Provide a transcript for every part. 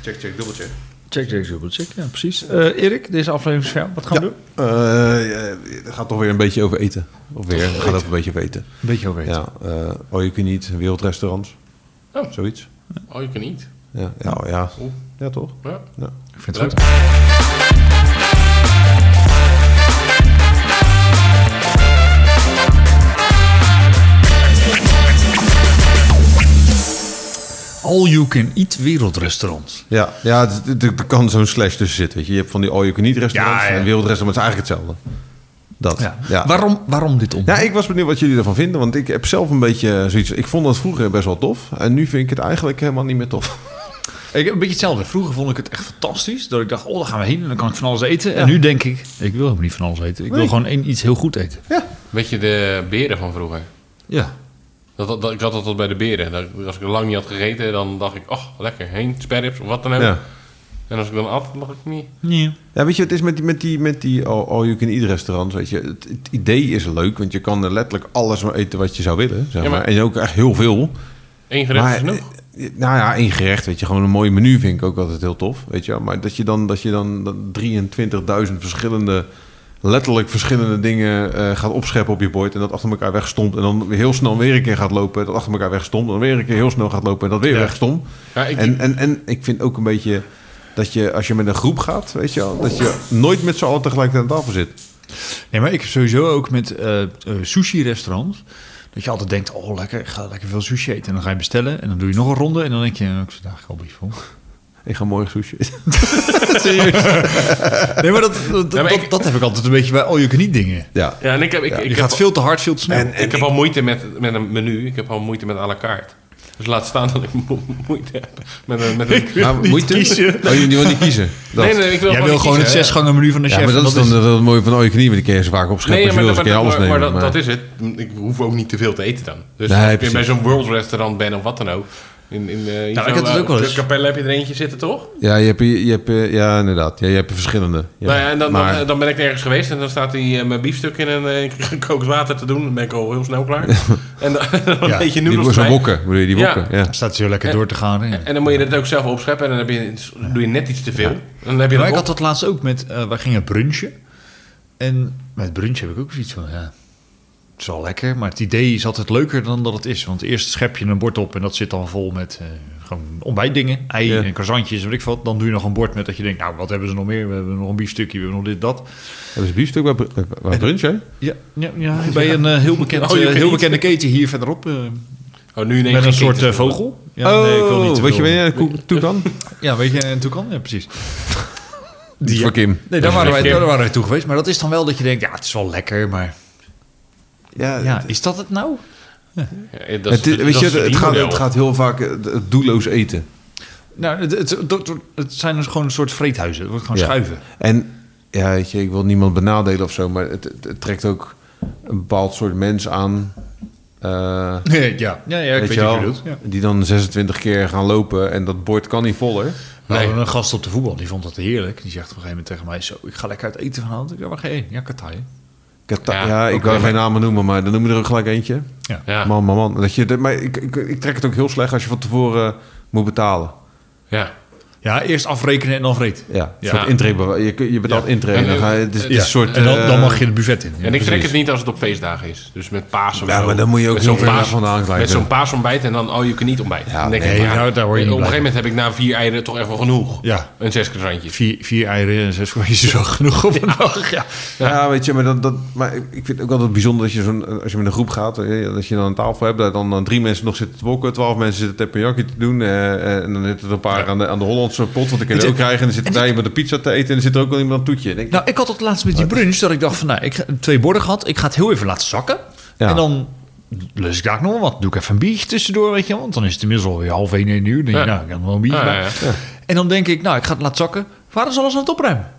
Check, check, dubbelcheck. Check, check, dubbelcheck. Ja, precies. Eh, Erik, deze aflevering is voor jou. Wat gaan we doen? Eh, eh, het gaat toch weer een beetje over eten. Of weer, het gaat ook een beetje over eten. Een beetje over Ja, eh oh, je kunt niet, wereldrestaurants. Oh. Zoiets. Oh, je kan niet. Ja, ja, oh, ja. Oeh. ja toch? Ja. Ja. Ik vind het Leuk. goed. All You Can Eat wereldrestaurant. Ja, ja het- het- er kan zo'n slash tussen zitten. Weet je. je hebt van die all you can eat restaurants Ja, ja. en wereldrestaurants is eigenlijk hetzelfde. Dat. Ja. Ja. Waarom, waarom dit om? Ja, ik was benieuwd wat jullie ervan vinden, want ik heb zelf een beetje zoiets. Ik vond dat vroeger best wel tof en nu vind ik het eigenlijk helemaal niet meer tof. Ik heb een beetje hetzelfde. Vroeger vond ik het echt fantastisch. Dat ik dacht, oh, daar gaan we heen en dan kan ik van alles eten. En nu denk ik, ik wil helemaal niet van alles eten. Ik wil Nee. gewoon één iets heel goed eten. Weet je de beren van vroeger? Ja. Dat, dat, dat- ik had dat tot bij de beren. Dat, als ik er lang niet had gegeten, dan dacht ik, oh, lekker, heen, sperrips of wat dan ook. Ja. En als ik dan at, dan dacht ik niet. Nee. Ja, weet je, het is met die, met die, met die all, all you can eat restaurants, weet je. Het, het idee is leuk, want je kan er letterlijk alles maar eten wat je zou willen, zeg Ja, maar. maar- En ook echt heel veel. Eén gerecht is maar, genoeg. eh, nou ja, één gerecht, weet je. Gewoon een mooi menu vind ik ook altijd heel tof, weet je. wel. Maar dat je dan, dat je dan dat 23.000 verschillende, letterlijk verschillende dingen eh, gaat opscheppen op je bord. En dat achter elkaar wegstomt. En dan weer heel snel weer een keer gaat lopen. Dat achter elkaar wegstomt. En dan weer een keer heel snel gaat lopen. En dat weer Ja. wegstomt. Ja, ik- en, en, en ik vind ook een beetje dat je, als je met een groep gaat, weet je wel. Dat je nooit met z'n allen tegelijkertijd aan tafel zit. Nee, maar ik heb sowieso ook met eh sushi-restaurants. Dat je altijd denkt, oh lekker, ik ga lekker veel sushi eten. En dan ga je bestellen en dan doe je nog een ronde. En dan denk je, eh, ik zit eigenlijk al een beetje vol. Ik ga morgen sushi eten. Nee, maar dat, dat, Ja, maar dat, ik- dat heb ik altijd een beetje bij all you can eat dingen. Ja. Ja, en ik heb, ik, Je ik gaat heb, veel te hard, veel te snel. ik heb al moeite met, met een menu. Ik heb al moeite met à la carte. Dus laat staan dat ik mo- moeite heb met een... Met een... Maar moeite? Oh, je, je wil niet kiezen? Dat. nee, nee, ik wil Jij wil niet gewoon het kiezen, hè. zesgangen menu van de Ja, chef. maar dat is dan het het mooie van al je knieën, want die kun je ze vaak opscheppen. Nee, als maar, je wil, dat, eens een keer alles maar- maar nemen. dat, maar- dat is het. Ik hoef ook niet te veel te eten dan. Dus Nee, als je precies. bij zo'n world restaurant bent of wat dan ook. In, in, eh, in Nou, had zo'n, het eh, ook wel eens. Capelle heb je er eentje zitten, toch? Ja, je hebt, je je hebt, eh, ja, inderdaad. Ja, je hebt er verschillende. Ja, nou ja, en dan, maar, dan, dan ben ik ergens geweest en dan staat hij eh, mijn biefstuk in een eh, gekookt water te doen. Dan ben ik al heel snel klaar. en dan, dan een Ja, beetje die noedels worden zo'n erbij. wokken, bedoel je, die Ja. wokken. Ja. Dan staat ze heel lekker door te gaan. hè. En dan moet je dat ook zelf opscheppen en dan heb je, doe je net iets te veel. En dan heb je Maar dat ik had op. dat laatst ook met, eh wij gingen brunchen. En met brunchen heb ik ook zoiets van, ja, het is wel lekker. Maar het idee is altijd leuker dan dat het is. Want eerst schep je een bord op en dat zit dan vol met eh, gewoon ontbijtdingen. Ei Ja. en croissantjes en weet ik wat. Dan doe je nog een bord met dat je denkt, nou, wat hebben ze nog meer? We hebben nog een biefstukje, we hebben nog dit, dat. Hebben ze biefstuk bij, br- eh, bij brunch, hè? Ja, ja, ja bij een eh, heel, bekend, Oh, je eh, kan heel niet. bekende keten hier verderop. eh Oh, nu ineens met een geen soort eh, kinderen. vogel. Ja, nee, ik wil niet te Oh, weet je veel. wanneer Koek toe kan? Ja, weet je, en toen kan, ja, precies. Die voor Kim. Nee, daar waren, wij, keer. daar waren wij toe geweest. Maar dat is dan wel dat je denkt, ja, het is wel lekker, maar... Ja, is dat het nou? Ja, dat is- Het, is- dat weet is je, het het, gaat, verdienmodel. het gaat heel vaak eh, d- doelloos eten. Nou, het, het, het, het zijn dus gewoon een soort vreethuizen. Het wordt gewoon Ja. schuiven. En ja, weet je, ik wil niemand benadelen of zo, maar het, het, het trekt ook een bepaald soort mens aan. eh, Nee, ja. Ja, ja, ik weet, weet je wat wel, je bedoelt. Ja. die dan 26 keer gaan lopen en dat bord kan niet voller. We Nee. hadden een gast op de voetbal, die vond dat heerlijk. Die zegt op een gegeven moment tegen mij, zo, ik ga lekker uit eten vanavond. Ik zeg, waar ga je heen? Ja, Qatar. Kata- Ja, ja, ik ook wil wel. geen namen noemen, maar dan noem je er ook gelijk eentje. Ja, Man, man, man. Dat je, dat- maar ik, ik, ik trek het ook heel slecht als je van tevoren eh, moet betalen. ja. Ja, eerst afrekenen en dan vreet. Ja, een Ja. soort intree. Je, kun- je betaalt Ja. intree en dan ga je... Het is, het is Ja, een soort... en dan, eh, dan mag je het buffet in. Ja, En ik trek precies. het niet als het op feestdagen is. Dus met paas of Ja, zo. maar dan moet je ook met zo'n niet ergens paas vandaan glijden. Met zo'n paasontbijt en dan oh je kan niet ontbijten. Ja, Dan denk ik, nee, ja, nou, daar word je Op niet een gegeven blij moment heb ik na vier eieren toch echt wel genoeg. Ja. Een zes croissantjes. Vier, vier eieren en zes koekjes is wel genoeg op een dag. Ja. Ja, weet je, maar, dat, dat, maar ik ik vind het ook altijd bijzonder dat je zo'n, als je met een groep gaat, eh, dat je dan een tafel hebt, dat dan, dan drie mensen nog zitten te wokken, twaalf mensen zitten teppanyaki te doen, eh, eh, en dan zitten er een paar aan, de, aan de Hollandse pot, want ik kan je ook krijgen, en dan zit er daar iemand de pizza te eten, en dan zit er ook wel iemand aan het toetje. Dan Denk, ik, Nou, ik had het laatst met die Oh. brunch dat ik dacht van, nou, ik heb twee borden gehad. Ik ga het heel even laten zakken. Ja. En dan lus ik daar nog wel wat. Doe ik even een biertje tussendoor, weet je. wel, Want dan is het inmiddels alweer half één, één uur. Dan denk je, Ja. nou, ik heb wel een biertje Ja, bij. ja, En dan denk ik, nou, ik ga het laten zakken. Waar is alles aan het opruimen?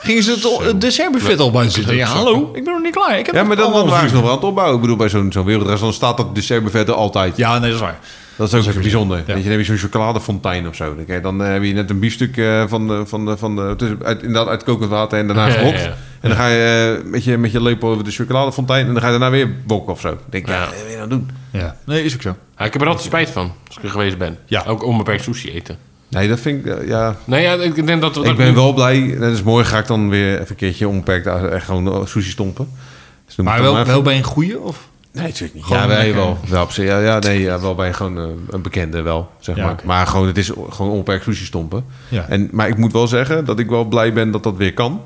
Gingen ze het, al- het dessertbuffet al bij zitten? Ja, hallo, ik ben nog niet klaar. Ik heb ja, het maar dan, dan allemaal waren vier. ze nog wel aan het opbouwen. Ik bedoel, bij zo'n, zo'n wereldrestaurant staat dat dessertbuffet er altijd. Ja, nee, dat is waar. Dat is ook bijzonder. Ja. Weet je, dan heb je zo'n chocoladefontein of zo. Dan, krijg je- dan eh, heb je net een biefstuk eh, van, de- van, de- van, de- tussen- uit, inderdaad uit kokend water en daarna Ja, gerokt. ja, ja. En dan ga je eh, met je, met je lepel over de chocoladefontein en dan ga je daarna weer bokken of zo. Dan denk je, ja, Ja. wat wil je nou doen? Ja. Nee, is ook zo. Ja, ik heb er altijd spijt van als ik er geweest ben. Ja. Ook onbeperkt sushi eten. Nee, dat vind ik, eh, ja... Nou ja, ik denk dat we... Ik ben wel blij. Net als morgen ga ik dan weer even een keertje onbeperkt uit- echt gewoon eh, sushi stompen. Dus dan moet Maar ik wel, dan wel bij een goeie? Of? Nee, natuurlijk niet. Gewoon Ja, wij lekker. wel. Ja, op zich, ja, ja, nee, ja, wel bij gewoon eh, een bekende wel, zeg Ja, maar. oké. Maar gewoon, het is gewoon onbeperkt sushi stompen. Ja. En, maar ik moet wel zeggen dat ik wel blij ben dat dat weer kan.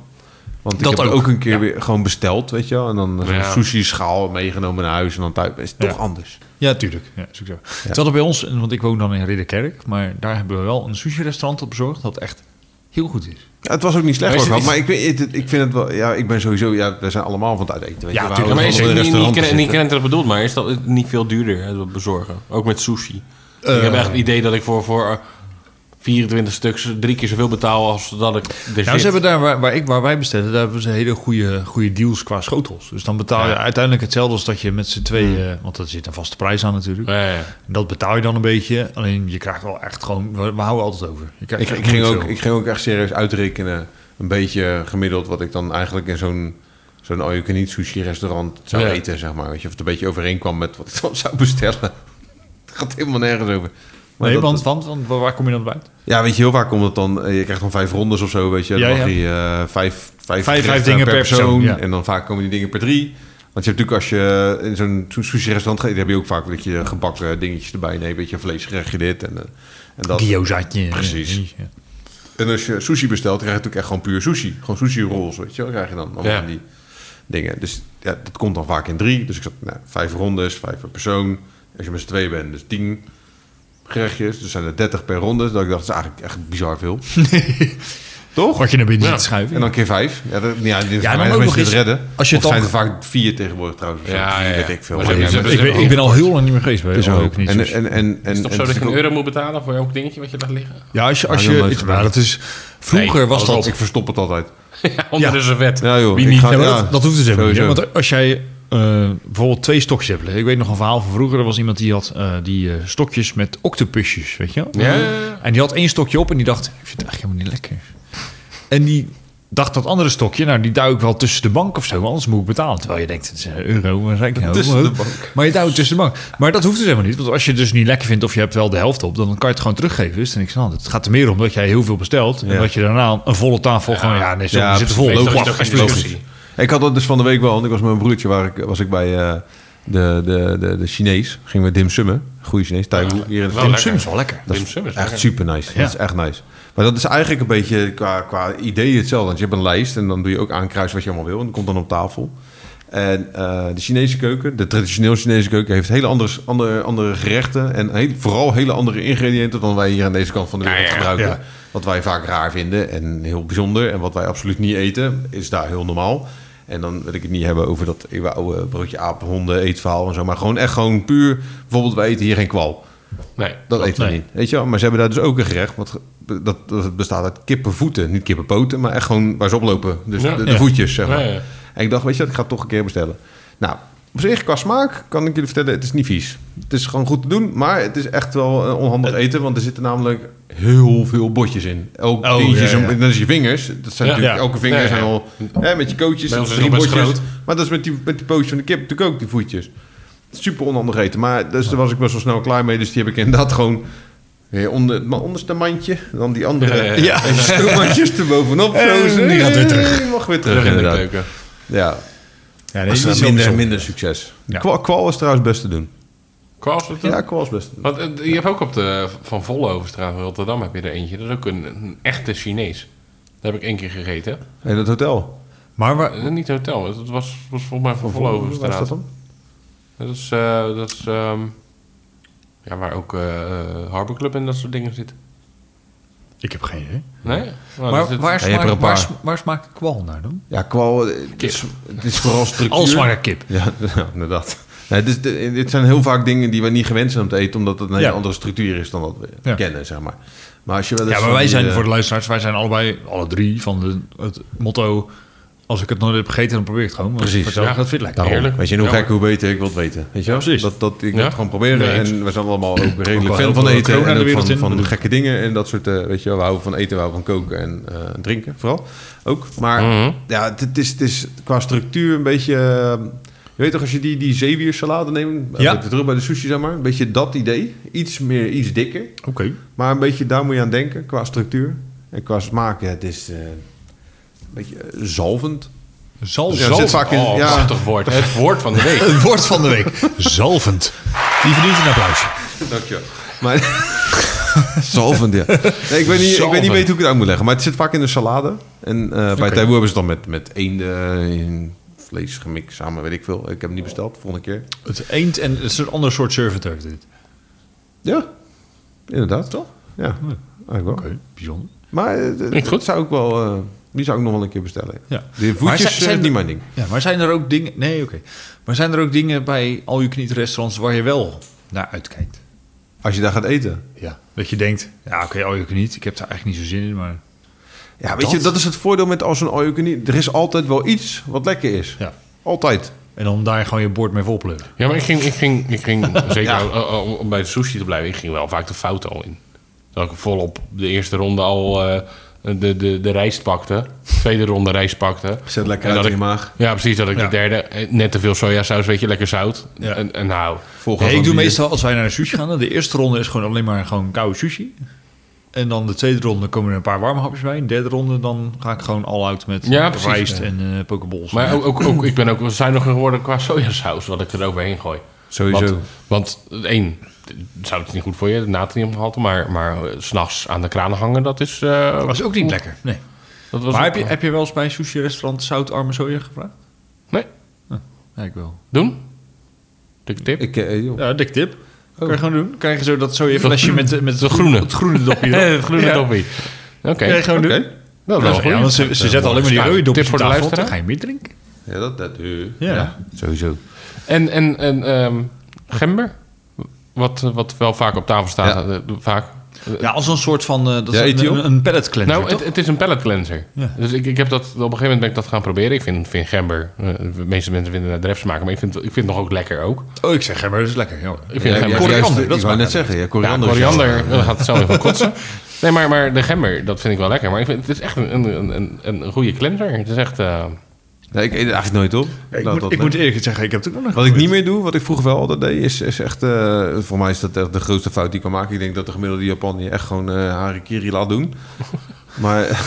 Want Dat ik heb ook, ook, een keer ja. weer gewoon besteld, weet je wel. En dan zo'n Ja. sushi schaal meegenomen naar huis en dan thuis. Is het Ja. toch anders. Ja, tuurlijk. Ja, sowieso. Terwijl er bij ons, en- want ik woon dan in Ridderkerk, maar daar hebben we wel een sushi-restaurant op bezorgd dat echt heel goed is. Ja, het was ook niet slecht, Maar maar, is het maar ik, weet- het- ik vind het wel... Ja, ik ben sowieso... Ja, we zijn allemaal van het uit eten, weet Ja, je. We tuurlijk. houden van maar is om in het een niet, niet, restaurant te niet, niet zitten. krenten bedoeld, maar is dat niet veel duurder het bezorgen? Ook met sushi. ik Eh. heb echt het idee dat ik voor, voor 24 stuks drie keer zoveel betaal als dat ik er zit. Nou, ze hebben daar waar, waar, ik, waar wij bestellen, daar hebben ze hele goede, goede deals qua schotels. Dus dan betaal je Ja. uiteindelijk hetzelfde als dat je met z'n tweeën, eh, want er zit een vaste prijs aan natuurlijk. Ja, ja. En dat betaal je dan een beetje. Alleen je krijgt wel echt gewoon, we, we houden altijd over. Je krijgt Ik, echt ik, ging niet ook, veel. ik ging ook echt serieus uitrekenen. Een beetje gemiddeld wat ik dan eigenlijk in zo'n zo'n all you can eat sushi restaurant zou Ja. eten, zeg maar. Weet je, of het een beetje overeenkwam met wat ik dan zou bestellen. Het gaat helemaal nergens over. Maar nee, dat- want, want, want waar kom je dan bij? Ja, weet je, heel vaak komt het dan... eh, Je krijgt dan vijf rondes of zo, weet je. Dan Ja, mag ja. je eh, vijf, vijf, vijf gerechten dingen per persoon, ja. En dan vaak komen die dingen per drie. Want je hebt natuurlijk als je in zo'n sushi-restaurant gaat... heb je ook vaak dat je gebakken dingetjes erbij neemt. Weet je, een vleesgerechtje dit en, eh, en dat. Gyozaatje. Precies. Ja, eh, ja. En als je sushi bestelt, krijg je natuurlijk echt gewoon puur sushi. Gewoon sushi rolls, weet je wel, krijg je dan allemaal Ja. van die dingen. Dus ja, dat komt dan vaak in drie. Dus ik zat, nou, vijf rondes, vijf per persoon. Als je met z'n tweeën bent, dus tien gerechtjes. Dus zijn er dertig per ronde. Dat ik dacht, dat is eigenlijk echt bizar veel. Toch? Wat je naar binnen Ja. ziet schuiven. En dan keer vijf. Ja, dat, ja, dit ja, dan dan ook ook nog eens, redden. als je Of het zijn dan- er vaak vier tegenwoordig trouwens. of zo. Ja, ja, ja. Weet ik veel. Maar Maar ze ja, hebben- met- ze ik, ben, ik ben al heel lang niet meer geweest bij zo. All You Can Eat En, eh, Sushi. en, en, en, Is het toch en- zo dat je een ik- euro moet betalen voor elk dingetje wat je laat liggen? Ja, als je... Als Ja, je heel leuk het- gedaan. nou, dat is, vroeger was dat... Ik verstop het altijd. Onder Ja. de servet. Ja, joh, Wie ik niet? ga- Ja, maar Ja, dat, dat hoeft dus helemaal niet. hè? sowieso. Want als jij eh, bijvoorbeeld twee stokjes hebt liggen. Ik weet nog een verhaal van vroeger. Er was iemand die had eh, die eh, stokjes met octopusjes, weet je wel? Ja, ja, ja. En die had één stokje op en die dacht, ik vind het eigenlijk helemaal niet lekker. En die dacht dat andere stokje, nou die duw ik wel tussen de bank of zo, want anders moet ik betalen. Terwijl je denkt, het is een euro, maar zei ik nou, Tussen de oh. bank. Maar je duwt het tussen de bank. Maar dat hoeft dus helemaal niet, want als je het dus niet lekker vindt of je hebt wel de helft op, dan kan je het gewoon teruggeven. Dus dan ik snap het. Het gaat er meer om dat jij heel veel bestelt en Ja. dat je daarna een volle tafel gewoon, ja nee, sorry, Ja, die zit er vol. precies. Loop Logisch. af. Logisch. Logisch. Ik had dat dus van de week wel, want ik was met mijn broertje waar ik, was ik bij eh, de, de, de, de Chinees. Gingen we dim summen. Goede Chinees, Taiwoe, hier in de Wel stad. lekker. Dim sum is wel lekker. Dat Dim is sum is echt lekker. super nice. Ja. Dat is echt nice. Maar dat is eigenlijk een beetje qua, qua idee hetzelfde. Want je hebt een lijst en dan doe je ook aankruisen wat je allemaal wil. En dat komt dan op tafel. En eh, de Chinese keuken, de traditioneel Chinese keuken, heeft hele andere, andere, andere gerechten. En heel- vooral hele andere ingrediënten dan wij hier aan deze kant van de wereld ja, gebruiken. ja. Wat wij vaak raar vinden en heel bijzonder. En wat wij absoluut niet eten, is daar heel normaal. En dan wil ik het niet hebben over dat eeuwen oude broodje apenhonden eetverhaal en zo. Maar gewoon echt gewoon puur, bijvoorbeeld wij eten hier geen kwal. Nee. Dat eten we nee. niet. Weet je wel? Maar ze hebben daar dus ook een gerecht. Wat, ge- dat, dat bestaat uit kippenvoeten. Niet kippenpoten, maar echt gewoon waar ze oplopen. Dus Ja. de, de Ja. voetjes, zeg Ja, maar. ja. En ik dacht, weet je wat, ik ga het toch een keer bestellen. Nou, op zich, qua smaak kan ik jullie vertellen, het is niet vies. Het is gewoon goed te doen, maar het is echt wel eh, onhandig eten. Want er zitten namelijk heel veel botjes in. Elk Oh, dingetje, ja, zo'n- ja. en dat is je vingers. Dat zijn Ja. natuurlijk, Ja. elke vinger Ja, ja. zijn al hè, met je kootjes. Bij ons is drie het nog best botjes. groot. Maar dat is met die, met die pootjes van de kip natuurlijk ook, die voetjes super onhandig eten. Maar dus daar was ik best wel snel klaar mee. Dus die heb ik inderdaad gewoon weer onder het ma- onderste mandje. Dan die andere Ja, ja, ja, ja. stoomandjes er bovenop. Zo, En zo. die gaat weer terug. Die mag weer terug, Terug in de inderdaad. keuken. Ja, Ja, was niet zo minder, bijzonder. minder succes. Ja. Kwal, kwal is trouwens best te doen. Kwals het dan? Ja, kwal is best te doen. Want eh, je hebt ook op de Van Vollenhovenstraat in Rotterdam heb je er eentje. Dat is ook een, een echte Chinees. Daar heb ik één keer gegeten. En het hotel. Maar waar, Eh, niet hotel, dat was, was volgens mij Van Waar is dat Vollenhovenstraat. dan? Dat is, eh, dat is ehm, ja, waar ook eh Harbor Club en dat soort dingen zit. ik heb geen idee. Nee? Nou, dat Maar zit- waar, Oh, Ja, je hebt er smaakt, een waar, paar. sma- waar smaakt de kwal naar dan? Ja, kwal, eh, het is, het is vooral structuur. Al smaakt kip. Ja, ja, inderdaad. Nee, dit, is- dit zijn heel vaak dingen die we niet gewend zijn om te eten, omdat het een hele Ja. andere structuur is dan wat we Ja. kennen, zeg maar. Maar als je wel eens Ja, maar van wij die, zijn eh, voor de luisteraars, wij zijn allebei, alle drie van de, het motto: als ik het nooit heb gegeten, dan probeer ik het gewoon. Want Precies. Nou. vertel ik, Ja. dat vind ik lekker. Daarom. Heerlijk. Weet je, en hoe Ja. gek, hoe beter, ik wil het weten. Weet je wel? Ja, precies. Dat, dat, ik wil Ja. het gewoon proberen. Nee, eens. en we zijn allemaal ook redelijk wel fan heel van veel eten. corona En de ook wereld van, in, van bedoel ik. gekke dingen en dat soort, eh, weet je wel. We houden van eten, we houden van koken en eh, drinken vooral. Ook. Maar Mhm. ja, het, het is, het is qua structuur een beetje... eh, Je weet toch, als je die, die zeewiersalade neemt, Ja. ja. terug bij de sushi zeg maar, een beetje dat idee. Iets meer, iets dikker. Oké. Maar een beetje daar moet je aan denken qua structuur en qua smaak. Ja, het is eh, een beetje eh, zalvend. Zal Ja, er zit vaak in- Oh, ja. prachtig woord. Het woord van de week. Een woord van de week. Zalvend. Die verdient een applausje. Dankjewel. Maar, zalvend, ja. Nee, ik, weet niet, ik weet Zalvend. niet weten hoe ik het uit moet leggen. Maar het zit vaak in de salade. En eh, bij Taiwo hebben ze het dan met, met eenden in vlees gemikt samen, weet ik veel. Ik heb hem niet besteld, volgende keer. Het eend en het is een ander soort servitor dit. Ja, inderdaad. Toch? Ja, eigenlijk wel. Oké, bijzonder. Maar eh, Niet goed. dat zou ik wel, eh, die zou ik nog wel een keer bestellen. Ja. De Maar voetjes zijn- zijn zijn er- niet mijn ding. Ja, maar zijn er ook dingen... Nee, oké. Maar zijn er ook dingen bij al je kniet restaurants waar je wel naar uitkijkt? Als je daar gaat eten. Ja. Dat je denkt, ja oké, al je kniet. Ik heb daar eigenlijk niet zo zin in, maar... Ja, weet je, dat is het voordeel met als een all Er is altijd wel iets wat lekker is. Ja. Altijd. En dan daar gewoon je bord mee volpleuren. Ja, maar ik ging, ik ging, ik ging zeker al- al- om bij de sushi te blijven, ik ging wel vaak de fout al in. Dat ik volop de eerste ronde al eh, de, de, de rijst pakte. Tweede ronde rijst pakte. Zet lekker En uit dat in je maag. Ja, precies. Dat ik Ja. de derde eh, net te veel sojasaus, weet je, lekker zout. Ja. En, en nou, Volgens Nee, ik doe meestal, als wij naar een sushi gaan, dan de eerste ronde is gewoon alleen maar gewoon koude sushi. En dan de tweede ronde komen er een paar warme hapjes bij. En de derde ronde dan ga ik gewoon all out met Ja, precies, rijst ja. en eh pokeballs. maar ook, ook, ook- ik ben ook zuiniger geworden qua sojasaus, wat ik er overheen gooi. Sowieso. Want, want één, zou het niet goed voor je, het natriumgehalte, maar, maar eh, 's s'nachts aan de kranen hangen, dat is... eh, dat was ook niet lekker. Nee. Dat was maar ook- heb je, heb je wel eens bij een sushi-restaurant zoutarme soja gevraagd? Nee, Ja, ik wel. doen? Dikke tip? Ik, eh, joh. Ja, dik tip. Kan je gewoon doen. Krijg je zo dat soja flesje met, de- met De groene. Het groene dopje. Het groene Ja. doppie. Oké. Kan je gewoon Oké. doen. Nou, dat is Ja, want ze, ze zetten alleen maar die rode Tip dopjes voor voor de de tafel, luisteraar. dan ga je meer drinken. Ja, dat, dat eh, Ja. Sowieso. En, en, en ehm, gember? Wat, wat wel vaak op tafel staat. eh, vaak. Ja, als een soort van... eh, dat Ja, is een, Ethiopië. een, een palate cleanser, Nou, toch? het, het is een pallet cleanser. Ja. Dus ik, ik heb dat, op een gegeven moment ben ik dat gaan proberen. Ik vind, vind gember, eh, de meeste mensen vinden het dref smaken, maar ik vind, ik vind het nog ook lekker ook. Oh, ik zeg, hè, maar dat is lekker. Ja. Ik vind Ja, gember- ja, Koriander, juist, dat ik is wou waar. net zeggen. Ja, Ja, koriander. is- koriander, dan gaat het zelf even kotsen. Nee, maar, maar de gember, dat vind ik wel lekker. Maar ik vind, het is echt een, een, een, een goede cleanser. Het is echt... eh, Nee, ik eet het eigenlijk nooit op. Ik, Dat- moet, dat- ik moet eerlijk zeggen, ik heb het ook nog nooit Wat ik geprobeerd. niet meer doe, wat ik vroeger wel altijd deed, is, is echt... eh, voor mij is dat echt de grootste fout die ik kan maken. Ik denk dat de gemiddelde Japan je echt gewoon eh harikiri laat doen. Maar eh,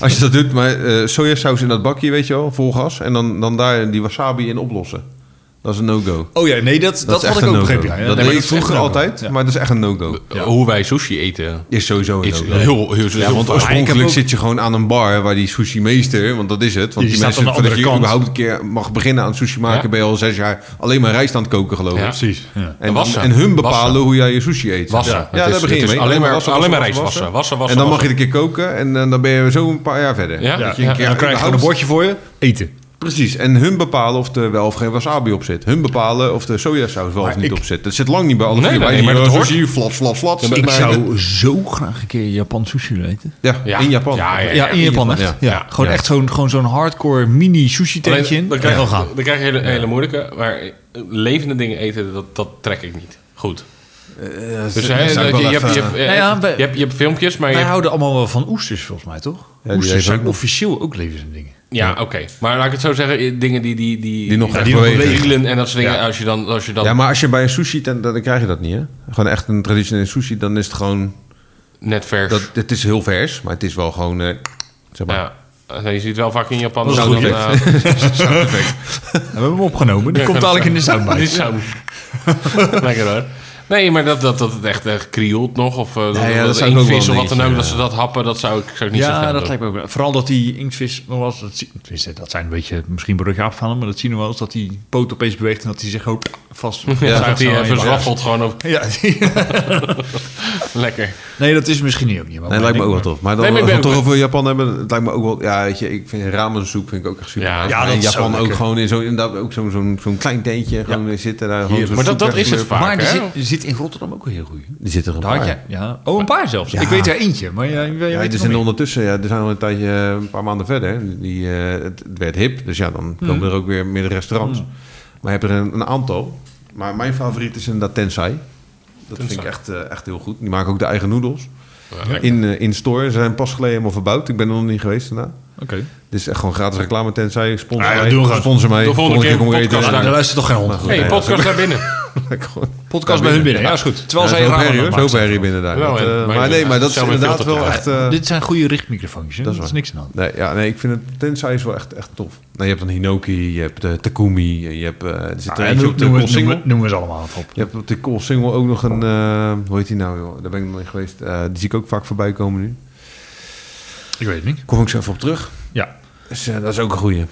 als je dat doet, maar eh, sojasaus in dat bakje, weet je wel, vol gas. En dan, dan daar die wasabi in oplossen. Dat is een no-go. Oh ja, nee, dat, dat, is echt had een ik ook no-go. begrepen. Ja, ja. Dat Nee, deed maar ik dat is echt vroeger een no-go. altijd, Ja. maar dat is echt een no-go. Hoe wij sushi eten Is sowieso een is no-go. heel, heel, heel Ja, want vaak. oorspronkelijk ook- zit je gewoon aan een bar waar die sushi-meester, want dat is het. Want Die die, staat mensen, aan de voordat je andere kant. überhaupt een keer mag beginnen aan sushi maken, Ja. ben je al zes jaar alleen maar rijst aan het koken, geloof ik. Ja. Precies. Ja. En, Wassen. en hun bepalen Wassen. hoe jij je sushi eet. Wassen. Ja, Het ja is- daar begin je het is mee. alleen maar- alleen maar rijst wassen. Wassen, wassen, En dan mag je wassen. een keer koken en eh, dan ben je zo een paar jaar verder. Ja, Dat je ja. een keer En dan krijg je gewoon een überhaupt- bordje voor je. Eten. Precies. En hun bepalen of er wel of geen wasabi op zit. Hun bepalen of de sojasaus wel of niet ik- op zit. Dat zit lang niet bij alle Nee, vier. nee, Wij nee, zien maar dat wel hoort. eh, Sushi, flats, flats, flats. maar- Ik Maar- zou zo graag een keer Japan sushi willen eten. Ja, Ja. in Japan. Ja, ja, Ja, ja, in Japan, echt. Ja. ja. Ja. Gewoon Ja. echt zo'n gewoon zo'n hardcore mini sushi Alleen, tentje in. Dan krijg, Ja. je dan krijg je hele, hele moeilijke. Maar eh, levende dingen eten, dat, dat trek ik niet. Goed. Dus zou hè, ik dat je- wel je hebt- je even- hebt, eh, Nou ja, wij- je hebt- je hebt filmpjes, maar je Wij hebt- houden allemaal wel van oesters, volgens mij, toch? die oesters heeft zijn ook nog- officieel ook levensdingen. dingen. Ja, oké. Maar laat ik het zo zeggen, eh, dingen die... Die, die, Die nog echt die nog bewegen. wiegelen en dat soort dingen. Als je dan... Als je dan Ja, maar als je bij een sushi tent, dan krijg je dat niet, hè? Gewoon echt een traditionele sushi, dan is het gewoon... net vers... Dat, het is heel vers, maar het is wel gewoon... eh, zeg maar, ja. Eh, Je ziet wel vaak in Japan... Dat is dan, goed, eh, We hebben hem opgenomen. Die Ja, komt dat dadelijk in de zou- soundbite. Die zou- Lekker hoor. Nee, maar dat, dat, dat het echt, echt krielt nog. Of eh, ja, dat, dat dat zou ik ook wel inktvis of wat een dan ook. beetje, Dat ze dat happen, dat zou ik, zou ik niet zo Ja, graag dat doen. lijkt me ook wel. Vooral dat die inktvis nog wel eens... Dat, zie- tenminste, dat zijn een beetje misschien broodje afvallen, maar dat zien we wel eens. Dat die poot opeens beweegt en dat hij zich gewoon vast... Ja, dat vastzuigt hij aan eh, je verzwaffelt gewoon op. buik. Ja, die- Lekker. nee, dat is misschien niet ook niet. maar Nee, lijkt me ook wel denk- tof. Maar dan Nee, maar ik als we het ben toch ook- over Japan hebben, het lijkt me ook wel... Ja, weet je, ik vind ramensoep vind ik ook echt super. Ja, nice. ja, Maar dat in is zo Japan ook lekker. gewoon in zo'n inderdaad ook zo'n zo'n zo'n klein tentje, gewoon weer zitten daar. Gewoon zo'n Maar dat- soep dat is het wegwerpen. Maar vaak, die hè? zit, die zit in Rotterdam ook een heel goeie. Die zitten er een Daar had paar. je, ja. Oh, een paar zelfs. Ik weet er eentje, maar jij, jij weet Ja, het die nog zijn niet. ondertussen, ja, er zijn al een tijdje, eh, een paar maanden verder. Die, eh, het, het werd hip, dus ja, dan Mm. komen er ook weer meer restaurants. Maar je hebt er een, een aantal. Maar mijn favoriet is inderdaad Tensai. Dat vind Tensai. ik echt, eh, echt heel goed. Die maken ook de eigen noedels. Ja, lekker. In, eh, in store. Ze zijn pas geleden helemaal verbouwd. Ik ben er nog niet geweest daarna. Dit is echt gewoon gratis reclame, tenzij sponsor Ah, ja, mij. doe gewoon. sponsor mij. De volgende keer kom ik podcast eten. Nou, daar- daar luistert toch geen hond. hey, podcast naar binnen. Gewoon- podcast bij hun binnen. Ja, is goed. Terwijl Ja, zij zo'n ramen herrie, hoor. maken. Zo'n herrie binnen daar. Ja, Dat, maar- eh, maar- maar nee, maar dat is zelf een inderdaad filter wel erbij. echt... eh, Dit zijn goede richtmicrofoontjes. hè? Dat Dat is is, waar. niks aan. de hand. Nee, ja, nee, ik vind het tenzij is wel echt, echt tof. Nou, je hebt dan Hinoki, je hebt eh, Takumi, eh, je hebt eh, er zit er Ah, eentje op de noem- Cool noem- Single. noem- Noemen ze allemaal wat op. Je hebt op de Cool Single ook nog een, eh, hoe heet die nou joh? Daar ben ik nog niet geweest. Eh, die zie ik ook vaak voorbij komen nu. Ik weet het niet. Kom ik zo even op terug. Ja. Dus, eh, dat is ook een goeie.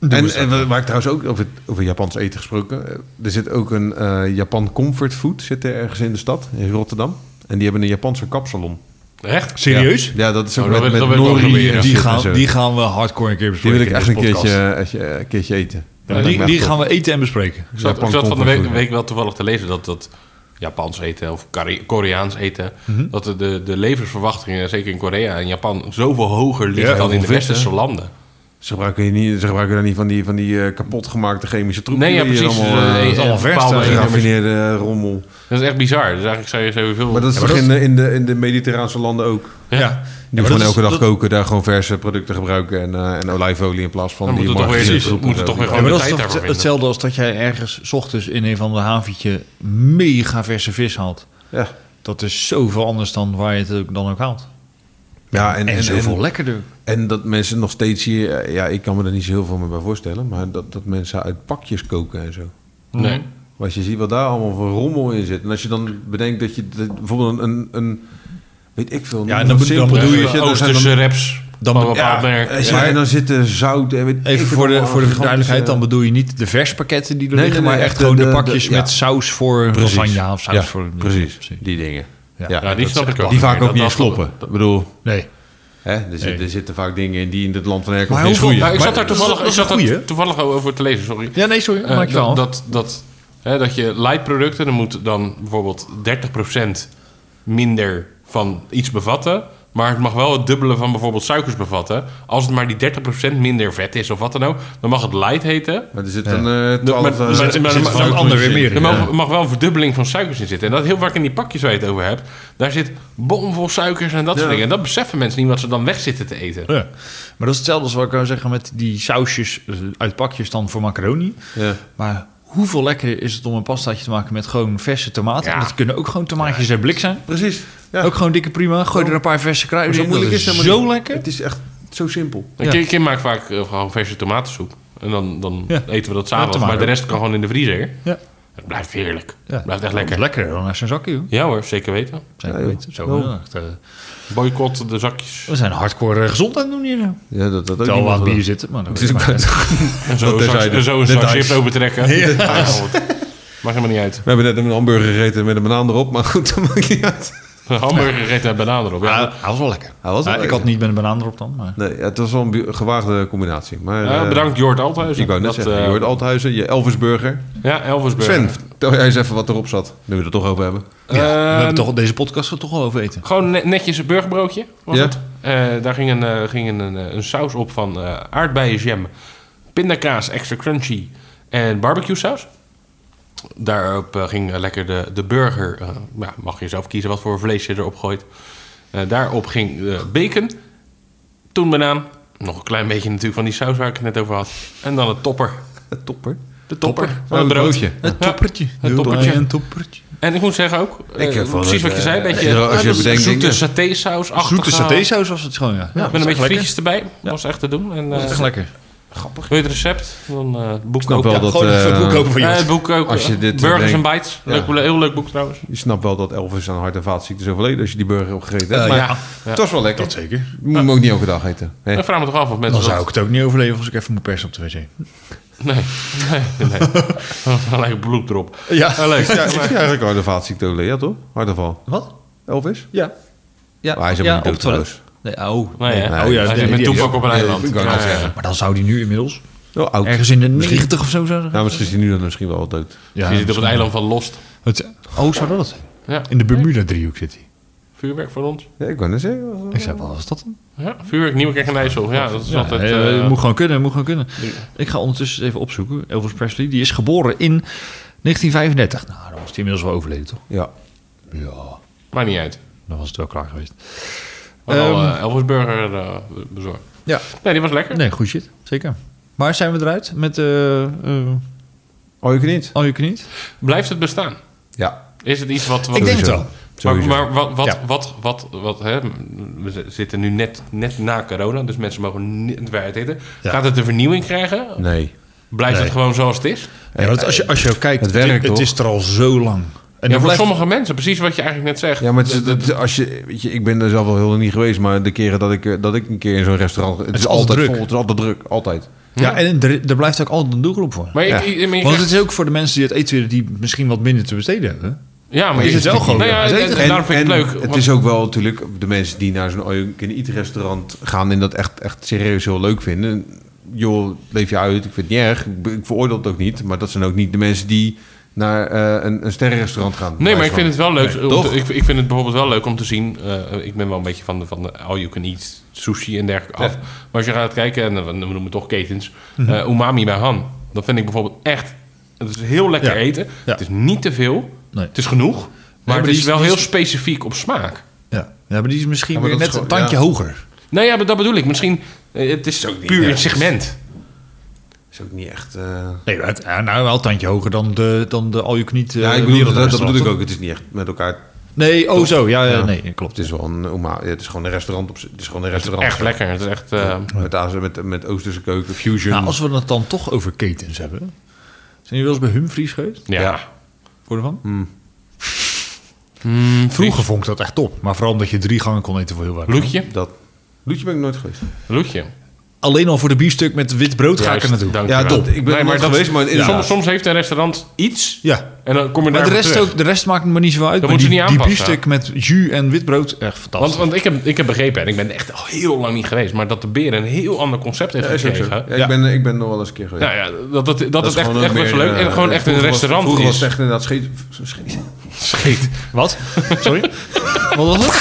En, en we- waar ik trouwens ook over, over Japans eten gesproken. eh, Er zit ook een eh, Japan Comfort Food zit er ergens in de stad, in Rotterdam. En die hebben een Japanse kapsalon. Echt? Serieus? Ja, dat is ook Oh, dat met, wil- met dat wil ik ook nori proberen. en Die Die shit en gaan, zo. die gaan we hardcore een keer Die bespreken. wil ik in echt deze een keertje, podcast. eh, een keertje eten. Ja, Dat die lijkt me die echt gaan we eten en bespreken. Ik zat, ik Japan zat van de comfort week, food. week wel toevallig te lezen dat, dat Japans eten of Kare- Koreaans eten, dat de- de, de levensverwachtingen, zeker in Korea en Japan, zoveel hoger liggen Ja, dan in de hoeveel westerse landen. Ze gebruiken, hier niet, ze gebruiken dan niet van die, van die eh, kapotgemaakte chemische troep. Nee, ja, die hier precies. Allemaal, Dus, eh, eh, is allemaal vers bepaalde te nummers- geraffineerde eh, rommel. Dat is echt bizar. Dus eigenlijk zou je zoveel... Maar dat is maar toch in, dat de, in, de, in de Mediterraanse landen ook. Ja. Die maar gewoon dat elke is- dag dat- koken, daar gewoon verse producten gebruiken en, eh, en olijfolie in plaats van Dan die moet het toch weer- margarine precies, troep moet en het zo. toch weer Ja, maar de dat is tijd toch daarvoor vinden. hetzelfde als dat jij ergens 's ochtends in een van de haventje mega verse vis haalt. Ja, Dat is zoveel anders dan waar je het ook- dan ook haalt. ja en, En, en, zoveel en, lekkerder. en dat mensen nog steeds hier... eh, Ja, ik kan me er niet zo heel veel meer bij voorstellen. Maar dat, dat mensen uit pakjes koken en zo. Nee. Maar als je ziet wat daar allemaal voor rommel in zit. En als je dan bedenkt dat je dat- bijvoorbeeld een, een weet ik veel. Ja, en noem dan het be- dan simpel, bedoel weet je- Oh, daar zijn Oosterse reps Dan- dus van een bepaald ja, merk. Eh, Ja, en dan zitten zout en weet ik Even veel voor de, allemaal voor de gigantische- duidelijkheid, dan bedoel je niet de verspakketten die er Nee, liggen, nee, nee, maar echt echt gewoon de- de, de- pakjes ja. met saus voor Precies. lasagne of saus Ja, voor... precies. Die dingen. Ja. Ja, die dat snap is ik ook. Die vaak Nee, ook dat- niet eens dat- kloppen. Ik bedoel, Nee. hè, er, zit- Nee. er zitten vaak dingen in die in het land van herkomst Maar niet eens hoeveel- groeien. Nou, ik Maar zat daar dat is- toevallig, dat ik is een zat daar goeie. toevallig over te lezen, sorry. Ja, nee, sorry. Eh, maak je dat, wel. dat, dat, hè, dat je light-producten, dan moet dan bijvoorbeeld 30% minder van iets bevatten. Maar het mag wel het dubbele van bijvoorbeeld suikers bevatten. Als het maar die 30% minder vet is of wat dan ook, dan mag het light heten. Maar er zit een eh, Maar- 12... maar- eh, maar- zit maar- gewoon maar- een maar- ander weer meer. Ja. Er mag, mag wel een verdubbeling van suikers in zitten. En dat heel vaak in die pakjes waar je het over hebt, daar zit bomvol suikers en dat soort Ja. dingen. En dat beseffen mensen niet wat ze dan weg zitten te eten. Ja. Maar dat is hetzelfde als wat ik wou zeggen met die sausjes eh, uit pakjes dan voor macaroni. Ja. Maar hoeveel lekkerder is het om een pastaatje te maken met gewoon verse tomaten? Ja. Dat kunnen ook gewoon tomaatjes uit blik zijn. Precies. Ja. Ook gewoon dikke prima. Gooi er een paar verse Maar kruiden zo in. Dat moeilijk is is het zo helemaal niet. lekker. Het is echt zo simpel. Een Ja. kind, kind maakt vaak eh, gewoon verse tomatensoep. En dan, dan Ja. eten we dat s'avonds. tomaten maar de ook. rest kan gewoon in de vriezer. Ja. Het blijft heerlijk. Ja. Het blijft echt Dat is lekker. lekkerder dan naar zijn zakje, joh. Ja hoor, zeker weten. Zijn Ja, joh. weet- zo, Wel. echt, eh, Boycott de zakjes. we zijn hardcore eh, gezond aan het doen hier. nou. Ja, dat, dat ook Terwijl we aan niemand het wil. bier zitten. Maar dat Het is ook- maakt niet uit. En zo een zak, terzijde. en zo een De zak dice. chips opentrekken. Ja. goed. Maakt helemaal niet uit. We hebben net een hamburger gegeten met een banaan erop, maar goed, dat maakt niet uit. Een hamburger gegeten met banaan erop. Ja, Ehm, Ah, Hij was wel lekker. Hij was wel Ah, ik lekker. had niet met een banaan erop dan. Maar... Nee, ja, het was wel een bu- gewaagde combinatie. Maar, Ja, eh, bedankt Jord Althuizen. Ik wou net Dat, zeggen, eh, je hoort Althuizen, je Elvisburger. Ja, Elvisburg. Sven, vertel jij eens even wat erop zat, nu we het er toch over hebben. Eh, we hebben toch, deze podcast gaat toch wel over eten. Gewoon ne- netjes een burgerbroodje was Ja. het. Eh, daar ging, een, eh, ging een, een, eh, een saus op van eh aardbeienjam, pindakaas extra crunchy en barbecue saus. Daarop eh, ging eh, lekker de, de burger, eh, ja, mag je zelf kiezen wat voor vlees je erop gooit. Eh, daarop ging eh, bacon, toen banaan, nog een klein beetje natuurlijk van die saus waar ik het net over had. En dan het topper. Het topper. De topper. Oh, Van het het brood. broodje. Het toppertje. Het toppertje. Een toppertje. En ik moet zeggen ook, eh, Ik heb wel precies dat, wat je eh, zei, een beetje als je- als je eh, bedenkt zoete dingen. satésaus. Zoete satésaus was het gewoon, ja. Met een beetje frietjes erbij. Ja. was echt te doen. En, Dat eh, is echt lekker. wil je het recept? Dan eh, het boek Ik snap ook. wel Ja, dat... gewoon even eh, het boek open voor eh, je. eh, het boek ook. Als je dit Burgers en bedenkt. Bites. Ja. Leuk, heel leuk boek trouwens. Je snapt wel dat Elvis aan hart- en vaatziekten is overleden als je die burger opgegeten hebt. Eh, maar ja. het was wel lekker. Dat zeker. Moet je hem ook niet elke dag eten. Hè? Ik vraag me toch af of mensen Dan zou ik het ook niet overleven als ik even moet persen op de wc. dat... Nee, nee, nee. Dan lijkt bloed erop. Ja, leuk. Ja, ik zie eigenlijk hart- en vaatziekten overleden, ja toch? Hartaanval. Wat? Elvis? Ja. Ja, Maar hij is helemaal ja, niet op het dood toilet. trouwens. Nee, oh. Nee, hè? oh ja, Hij nee, zit met die toepak is- op een Nee, eiland. ik kan het Ja, niet ja. zeggen. Maar dan zou die nu inmiddels Oh, oud. ergens in de Misschien- 90 of zo zijn. Nou, misschien is hij nu dan misschien wel wat dood. Je zit op het eiland van Lost. Het, oh, zou dat het zijn? Ja. In de Bermuda-driehoek zit hij. Vuurwerk voor ons. Ja, ik wou net zeggen. Ik zei, wat was dat dan? Ja, vuurwerk Nieuwekerk en IJssel. Ja, dat is Ja, altijd... eh, eh, het moet gewoon kunnen, het moet gewoon kunnen. Ik ga ondertussen even opzoeken. Elvis Presley, die is geboren in 1935. Nou, dan was hij inmiddels wel overleden, toch? Ja. Ja, Maakt niet uit. dan was het wel klaar geweest. We hebben al Ehm, eh, Elvisburger eh, bezorgd. Ja. Nee, die was lekker. Nee, goed shit. Zeker. Maar zijn we eruit met eh eh Oh, je kunt niet? al je kniet? Blijft het bestaan? Ja. Is het iets wat... wat Ik denk het wel. Maar, Sowieso. maar wat, wat, Ja. wat, wat, wat, hè? we z- zitten nu net, net na corona, dus mensen mogen niet waar het eten. Ja. Gaat het een vernieuwing krijgen? Nee. Blijft Nee. het gewoon zoals het is? Ja, want als je, als je ook kijkt, Het werkt, het toch? is er al zo lang. En Ja, dan voor blijft sommige mensen, precies wat je eigenlijk net zegt. Ja, maar het is- het is- als je, weet je, ik ben er zelf wel heel lang niet geweest, maar de keren dat ik, eh, dat ik een keer in zo'n restaurant... Het, is is altijd druk. druk. vol, het is altijd druk, altijd. Ja, en er, er blijft ook altijd een doelgroep voor. Maar, ik- Ja. ik- ik- maar je Want krijgt- het is ook voor de mensen die het eten willen, die misschien wat minder te besteden hebben. ja, maar is je- het wel gewoon Nou ja, leuk. en- en Zeker. daarom vind ik het leuk. Het want- is ook wel natuurlijk de mensen die naar zo'n all-you-can-eat restaurant gaan en dat echt, echt serieus heel leuk vinden. Joh, leef je uit, ik vind het niet erg, ik, be- ik veroordeel het ook niet. Maar dat zijn ook niet de mensen die naar eh, een, een sterrenrestaurant gaan. Nee, maar ik vind het wel leuk. om te- toch? ik, ik vind het bijvoorbeeld wel leuk om te zien. eh, ik ben wel een beetje van de, van de all you can eat sushi en dergelijke af. Maar als je gaat kijken, en dan- we noemen het toch ketens, eh, umami bij Han. Dat vind ik bijvoorbeeld echt. Het is heel lekker Ja. eten. Ja. Het is niet te veel. Nee. Het is genoeg. Maar, maar het die is is- wel die heel is- specifiek op smaak. Ja, ja maar die is misschien Ja, maar weer net dat is een gewoon- tandje hoger. Nou ja, maar dat bedoel ik. Misschien, eh, het is puur een segment. is ook niet echt... eh, Nee, maar het- ja, nou wel een tandje hoger dan de, dan de al je kniet. ja, Eh, ik bedoel, dat, dat bedoel ik ook. Het is niet echt met elkaar... eh, Nee, oh zo, ja, ja, Ja. nee, klopt. Het is wel een, oma- het is gewoon een restaurant. Op, z- het is gewoon een restaurant. Echt lekker. Het is echt, eh, Met, Azië- met, met Oosterse keuken, fusion. Nou, als we het dan toch over ketens hebben. Zijn jullie wel eens bij Humphries geweest? ja. Ja. Voor de van? Hmm. Mm, Vroeger vond ik dat echt top. Maar vooral omdat je drie gangen kon eten voor heel weinig. Loetje. Dat... Loetje ben ik nooit geweest. Loetje. Alleen al voor de biefstuk met wit brood ga ik er naartoe. Ja, top. Ik ben er nooit geweest, maar inderdaad. soms, soms heeft een restaurant iets. Ja. En dan kom je Maar daar de rest, terug. ook, de rest maakt me niet zo uit. Dat maar moet je die, niet die aanpassen. biefstuk met jus en wit brood, echt fantastisch. Want, want ik, heb, ik heb begrepen, en ik ben echt al heel lang niet geweest... maar dat de beer een heel ander concept heeft Ja, is ook zo. gekregen. Ja, ik, ben, ik ben nog wel eens een keer geweest. Nou ja, dat, dat, dat, is het echt, gewoon echt ook best wel meer, leuk. En eh, gewoon echt een vroeger was- restaurant Vroeger is. was het echt inderdaad scheet... scheet- Scheet. Wat? Sorry? Wat was het?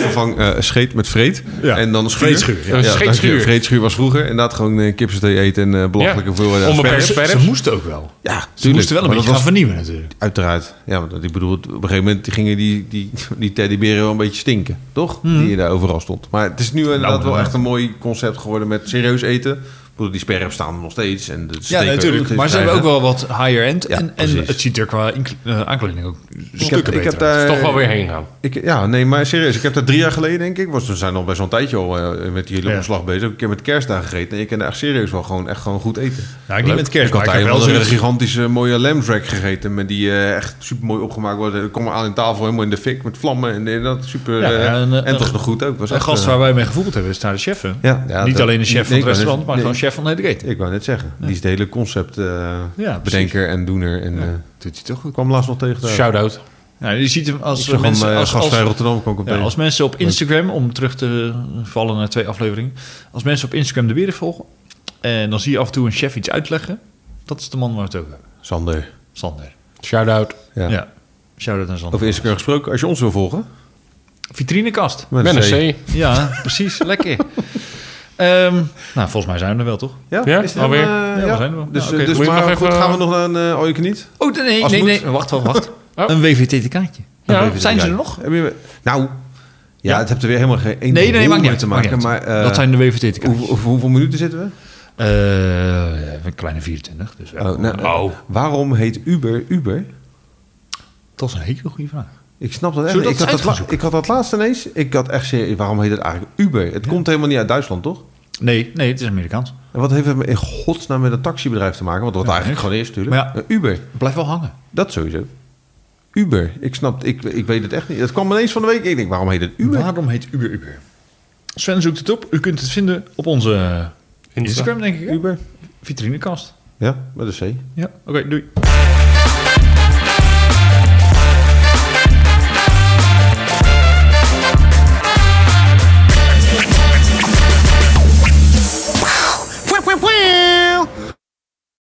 vervang eh, scheet met vreet. Ja. En dan schuur. Vreetschuur, ja. dank je. Scheetschuur. Vreetschuur was vroeger. Inderdaad gewoon uh, kipsthee eten en eh belachelijke Ja. hoeveelheden Onbeperkt. asperges. Ze, Verder? ze moesten ook wel. Ja, Ze tuurlijk. moesten wel een Maar beetje dat gaan was vernieuwen natuurlijk. Uiteraard. Ja, want ik bedoel, op een gegeven moment die gingen die, die, die teddyberen wel een beetje stinken. Toch? Mhm. Die daar overal stond. Maar het is Nou, nu inderdaad wel inderdaad. echt een mooi concept geworden met serieus eten. Ik bedoel, die sperren staan er nog steeds. En de Ja, steken nee, natuurlijk. ook Maar ze hebben ook wel wat higher end. Ja, en, en precies. het ziet er qua ink- eh, aankleding ook Dus Ik stukken heb, ik beter heb uit. daar, Toch wel weer heen gaan. Ik, ja, nee, maar serieus. Ik heb daar drie jaar geleden, denk ik, was, we zijn al best wel een tijdje al eh, met jullie Ja. omslag bezig. Ik heb een keer met kerstdagen gegeten en je kan daar echt serieus wel gewoon, echt gewoon goed eten. Nou, ik niet met kerst, Ik had maar ik daar heb wel wel een zoiets. gigantische mooie lamb rack gegeten met die eh, echt super mooi opgemaakt worden. Ik kom maar aan in tafel helemaal in de fik met vlammen en eh, dat super. Ja, eh, ja, en, en, eh, toch nog goed ook. Was Een echt, gast eh, waar wij mee gevoeld hebben is daar de chef. hè? Ja, ja, niet dat- alleen de chef nee, van het ik wou restaurant, net- maar nee. gewoon chef van de hele keten. ik wou net zeggen, die is het hele concept eh, precies. bedenker en doener. En, eh, Doet hij toch ik goed. kwam laatst nog tegen daar. Shout-out. Nou, je ziet hem als Ik zag mensen... hem eh, als, als, gastvrij Rotterdam kwam ik op ja, tegen. als mensen op Instagram, om terug te vallen naar twee afleveringen. Als mensen op Instagram de beren volgen en dan zie je af en toe een chef iets uitleggen. Dat is de man waar we het over hebben. Sander. Sander. Shout-out. Ja. Ja. Shout-out aan Sander. Over Instagram gesproken, als je ons wil volgen. Vitrinekast. Met Ben C. een C. Ja, precies. Lekker. Ehm, nou, volgens mij zijn we er wel, toch? Ja, Ja, is het alweer. hem, eh, Ja, eh, we zijn er wel. Dus, Ja, oké. dus Moet je maar nog goed, even- gaan we nog naar een eh oh, je kan niet? Oh, nee, Als nee, moet. nee. Wacht, wacht, wacht. Oh. Een WVTT-kaartje. Ja. Even Zijn kijken. ze er nog? Heb je- nou, ja, Ja. het hebt er weer helemaal geen één Nee, nee, nee, hol maakt niet mee uit. te maakt maken. niet uit. Maar, eh, dat zijn de WVTT-kaartjes. hoe- hoe- hoeveel minuten zitten we? Eh, een kleine 24. Dus wel. Oh, nou, Oh. Waarom heet Uber Uber? Dat is een hele goede vraag. Ik snap dat echt Zullen we niet. dat ik, had eens dat la- uitzoeken? ik had dat laatst ineens. Ik had echt serieus, waarom heet het eigenlijk Uber? Het komt helemaal niet uit Duitsland, toch? Nee, nee, het is Amerikaans. En wat heeft het in godsnaam met een taxibedrijf te maken? Want wat Ja, eigenlijk niks. gewoon is natuurlijk. Maar ja. Eh, Uber, Blijf wel hangen. dat sowieso. Uber, ik snap, ik, ik weet het echt niet. Het kwam ineens van de week. Ik denk, waarom heet het Uber? Waarom heet Uber Uber? Sven zoekt het op. U kunt het vinden op onze eh, Insta. Instagram, denk ik. hè? Uber. Vitrinekast. Ja, met een C. Ja, oké, doei.